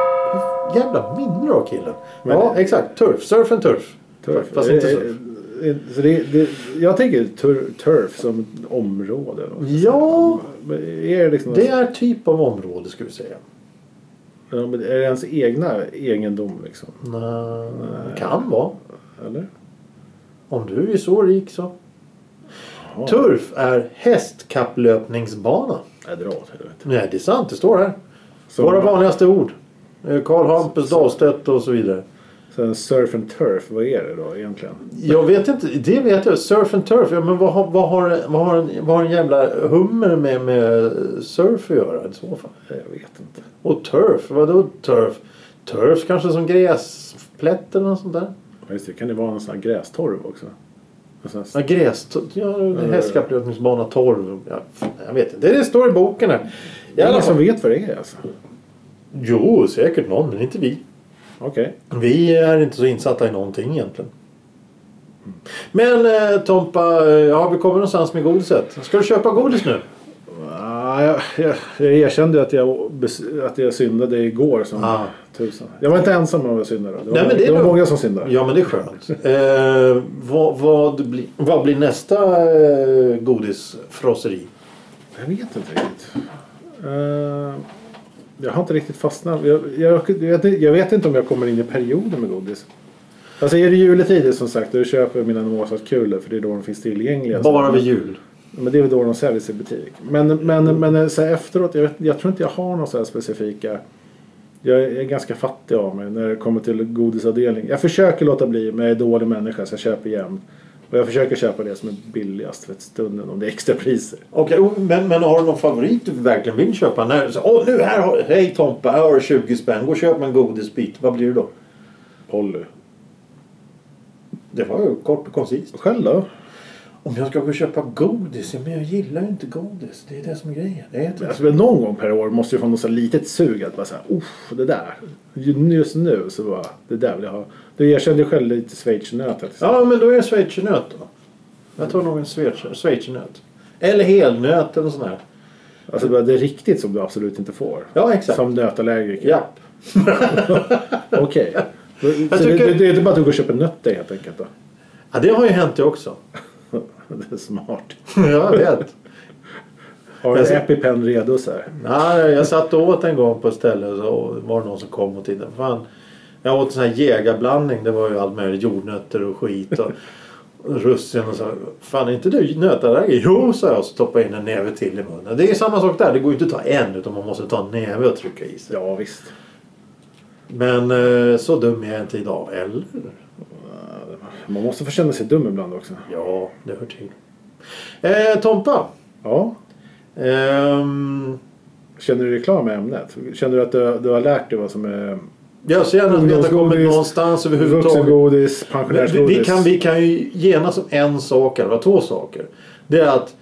[SPEAKER 2] Jävla minne du har killen. ja, exakt. Turf. Surf and turf.
[SPEAKER 1] turf.
[SPEAKER 2] Fast inte
[SPEAKER 1] Eh,
[SPEAKER 2] surf.
[SPEAKER 1] eh, Så det, det, jag tänker tur, turf som område. eller något.
[SPEAKER 2] Ja,
[SPEAKER 1] Men Är det, liksom
[SPEAKER 2] det är typ av område skulle vi säga.
[SPEAKER 1] Ja, men är det ens egna egendom liksom?
[SPEAKER 2] Nej, kan vara.
[SPEAKER 1] Eller?
[SPEAKER 2] Om du är så rik så.
[SPEAKER 1] Jaha.
[SPEAKER 2] Turf är hästkapplöpningsbana.
[SPEAKER 1] Nej, dra åt helvete.
[SPEAKER 2] Nej, det är sant. Det står här.
[SPEAKER 1] Så-
[SPEAKER 2] Våra vanligaste ord. Eh, Karl Hampus Dahlstedt och så vidare.
[SPEAKER 1] Sen surf and turf, vad är det då egentligen?
[SPEAKER 2] Jag vet inte. Det vet jag. Surf and turf. Ja, men vad, har- vad, har, vad, har en, vad har en jävla hummer med, med surf att göra i så fall?
[SPEAKER 1] Nej, Jag vet inte.
[SPEAKER 2] Och turf. Vadå turf? Turf kanske som gräsplätt eller något sånt där.
[SPEAKER 1] Ja, just det, kan det vara en sån här grästorv också? Alltså, En sån
[SPEAKER 2] Ja,
[SPEAKER 1] här...
[SPEAKER 2] gräs... Ja, hästkapplöpningsbana, torv. Ja, fan, jag vet inte. Det står i boken här. I
[SPEAKER 1] Det är
[SPEAKER 2] alla
[SPEAKER 1] ingen
[SPEAKER 2] fall.
[SPEAKER 1] som vet vad det är alltså.
[SPEAKER 2] Jo, säkert någon, men inte vi.
[SPEAKER 1] Okej.
[SPEAKER 2] Vi är inte så insatta i någonting egentligen. Men eh, Tompa, eh, ja, vi kommer någonstans med godiset. Ska du köpa godis nu?
[SPEAKER 1] Ah, Ja, jag, jag, jag erkände ju att jag, bes- att jag syndade igår som
[SPEAKER 2] Ja.
[SPEAKER 1] tusan. Jag var inte ensam om att synda då. Det var,
[SPEAKER 2] Ah. Nej, men det är
[SPEAKER 1] det var
[SPEAKER 2] bra.
[SPEAKER 1] många som syndade.
[SPEAKER 2] Ja men det är skönt. eh, vad, vad, blir, vad blir nästa eh, godisfrosseri?
[SPEAKER 1] Jag vet inte riktigt. Eh, jag har inte riktigt fastnat. Jag, jag, jag, jag vet inte om jag kommer in i perioden med godis. Alltså är det juletider som sagt då köper jag mina Mozartkulor för det är då de finns tillgängliga.
[SPEAKER 2] Bara vid jul.
[SPEAKER 1] Men det är väl då de säljs i butik. Men, men, men eh, så här efteråt, jag, vet, jag tror inte jag har några så här specifika. Jag är ganska fattig av mig när det kommer till godisavdelning. Jag försöker låta bli men jag är dålig människa så jag köper igen. Och jag försöker köpa det som är billigast för ett stunden om det är extra priser.
[SPEAKER 2] Okej, oh, men, men har du någon favorit du verkligen vill köpa? När, så, åh, nu här har, hej Tompa, här har du 20 spänn. Gå och köp en godisbit. Vad blir det då?
[SPEAKER 1] Polly.
[SPEAKER 2] Det var ju kort och koncist.
[SPEAKER 1] Själv då?
[SPEAKER 2] Om jag ska gå och köpa godis? Ja, men jag gillar ju inte godis. Det är det som är grejen. Jag äter inte.
[SPEAKER 1] Alltså, men någon gång per år måste du få något så här litet sug att bara säga uff det där. Just nu så bara det där vill jag ha. Du erkände ju själv lite schweizernöt. att-
[SPEAKER 2] Ja, men då är det schweizernöt då. Jag tar nog en schweizer- schweizernöt. Eller helnöt eller sån här.
[SPEAKER 1] Alltså bara det är riktigt som du absolut inte får.
[SPEAKER 2] Ja, exakt.
[SPEAKER 1] Som nötallergiker.
[SPEAKER 2] Japp.
[SPEAKER 1] Okej. Så
[SPEAKER 2] tycker-
[SPEAKER 1] det, det, det är inte bara att du går och köper nötter helt enkelt då?
[SPEAKER 2] Ja, det har ju hänt det också.
[SPEAKER 1] Det är smart.
[SPEAKER 2] jag vet.
[SPEAKER 1] Har
[SPEAKER 2] Jag
[SPEAKER 1] du
[SPEAKER 2] ser-
[SPEAKER 1] Epipen redo så här?
[SPEAKER 2] Nej, jag satt och åt en gång på ett ställe och så var det någon som kom och tittade. Fan, jag åt en sån här jägarblandning. Det var ju allt möjligt. Jordnötter och skit. Och russin och så. Fan, är inte du nötallergiker? Jo, sa jag och stoppade in en näve till i munnen. Det är ju samma sak där. Det går ju inte att ta en utan man måste ta en näve och trycka i sig.
[SPEAKER 1] Ja visst.
[SPEAKER 2] Men eh, så dum är jag inte idag. Eller?
[SPEAKER 1] Man måste få känna sig dum ibland också.
[SPEAKER 2] Ja, det hör till. Eh, Tompa.
[SPEAKER 1] Ja.
[SPEAKER 2] Ehm,
[SPEAKER 1] Känner du dig klar med ämnet? Känner du att du, du har lärt dig vad som är
[SPEAKER 2] jag ser gärna att vi inte har kommit
[SPEAKER 1] Ungdomsgodis,
[SPEAKER 2] någonstans överhuvudtaget.
[SPEAKER 1] vuxengodis,
[SPEAKER 2] Men Vi,
[SPEAKER 1] pensionärsgodis?
[SPEAKER 2] vi, kan, vi kan ju genast som en sak, eller två saker. Det är att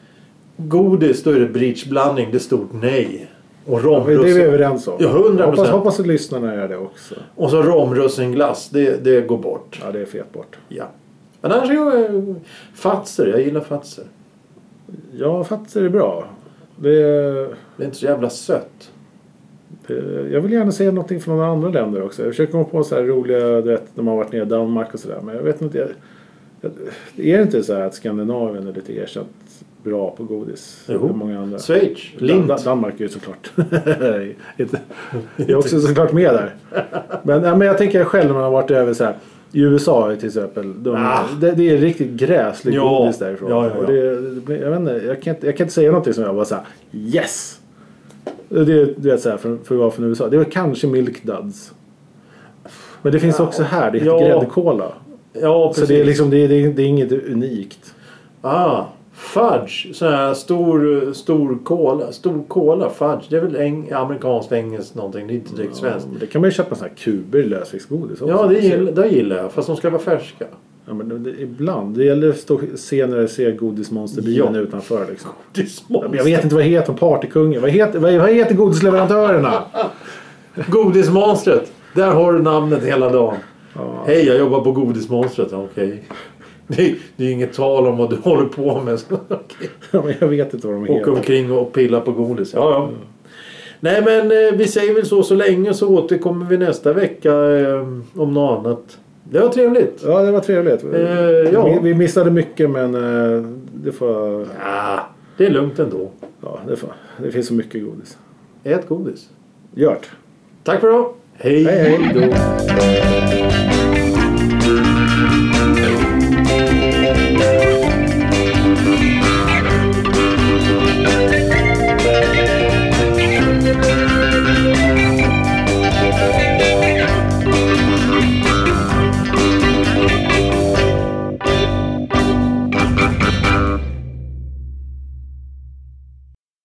[SPEAKER 2] godis, då är det bridgeblandning, det är stort nej. Och
[SPEAKER 1] Det är det vi är
[SPEAKER 2] romrussin.
[SPEAKER 1] överens om.
[SPEAKER 2] Ja, 100%.
[SPEAKER 1] Hoppas, hoppas att lyssnarna gör det också.
[SPEAKER 2] Och så romrussinglass, det, det går bort.
[SPEAKER 1] Ja, det är fet bort.
[SPEAKER 2] Ja. Men annars är jag fatser, jag gillar fatser.
[SPEAKER 1] Ja, fatser är bra. Det, är-
[SPEAKER 2] Det är inte så jävla sött.
[SPEAKER 1] det, jag vill gärna se någonting från andra länder också. Jag försöker komma på så här roliga, du vet, när man har varit nere i Danmark och sådär. Men jag vet inte. Jag, jag, är det inte så här att Skandinavien är lite erkänt bra på godis?
[SPEAKER 2] Jo.
[SPEAKER 1] Det är Många andra.
[SPEAKER 2] Schweiz,
[SPEAKER 1] Dan-
[SPEAKER 2] lint.
[SPEAKER 1] Dan- Danmark är ju såklart... Inte- jag är också såklart med där. Men, nej, men jag tänker själv när man har varit över så här. I USA till exempel. De,
[SPEAKER 2] Ah.
[SPEAKER 1] det, det är riktigt gräsligt
[SPEAKER 2] Ja.
[SPEAKER 1] godis därifrån.
[SPEAKER 2] Ja, ja, ja.
[SPEAKER 1] Och det, det, blir- jag, vet inte, jag, kan inte, jag kan inte säga någonting som jag bara såhär Yes! Det, är- du vet, så här, för, för att vara från USA. Det var kanske Milk Duds. Men det finns också här. Det heter
[SPEAKER 2] Ja.
[SPEAKER 1] gräddkola.
[SPEAKER 2] Ja,
[SPEAKER 1] Så
[SPEAKER 2] precis.
[SPEAKER 1] det är, liksom, det, är, det, är, det är inget unikt.
[SPEAKER 2] Ah, fudge. Sån här stor, stor kola. Stor kola, fudge. Det är väl eng, amerikanskt, engelskt någonting. Det är inte direkt svenskt.
[SPEAKER 1] Det kan man ju köpa sådana här kuber i lösviktsgodis också.
[SPEAKER 2] Ja, det gillar, det gillar jag. Fast de ska vara färska.
[SPEAKER 1] Ja, men det, det, ibland. Det gäller att stå, se när du ser godismonsterbilen
[SPEAKER 2] Ja.
[SPEAKER 1] utanför. Liksom. Ja, men Jag vet inte vad heter de? partykungen. Vad heter, vad, vad heter godisleverantörerna?
[SPEAKER 2] Godismonstret! Där har du namnet hela dagen. Hej, jag jobbar på Godismonstret. Ja, Okej. Det, är- det är inget tal om vad du håller på med. Så, okej.
[SPEAKER 1] Ja, men jag vet inte vad de
[SPEAKER 2] Åka
[SPEAKER 1] heter.
[SPEAKER 2] omkring och pilla på godis. Ja, ja.
[SPEAKER 1] Mm.
[SPEAKER 2] Nej, men eh, vi säger väl så så länge så återkommer vi nästa vecka eh, om något annat. Det var trevligt.
[SPEAKER 1] Ja, det var trevligt.
[SPEAKER 2] Eh, ja.
[SPEAKER 1] vi, vi missade mycket men eh, det, får,
[SPEAKER 2] Ja, Ah, det är lugnt ändå.
[SPEAKER 1] ja, det, får, det finns så mycket godis.
[SPEAKER 2] Ät godis.
[SPEAKER 1] Gjort.
[SPEAKER 2] Tack för idag.
[SPEAKER 1] Hej, hej. Då.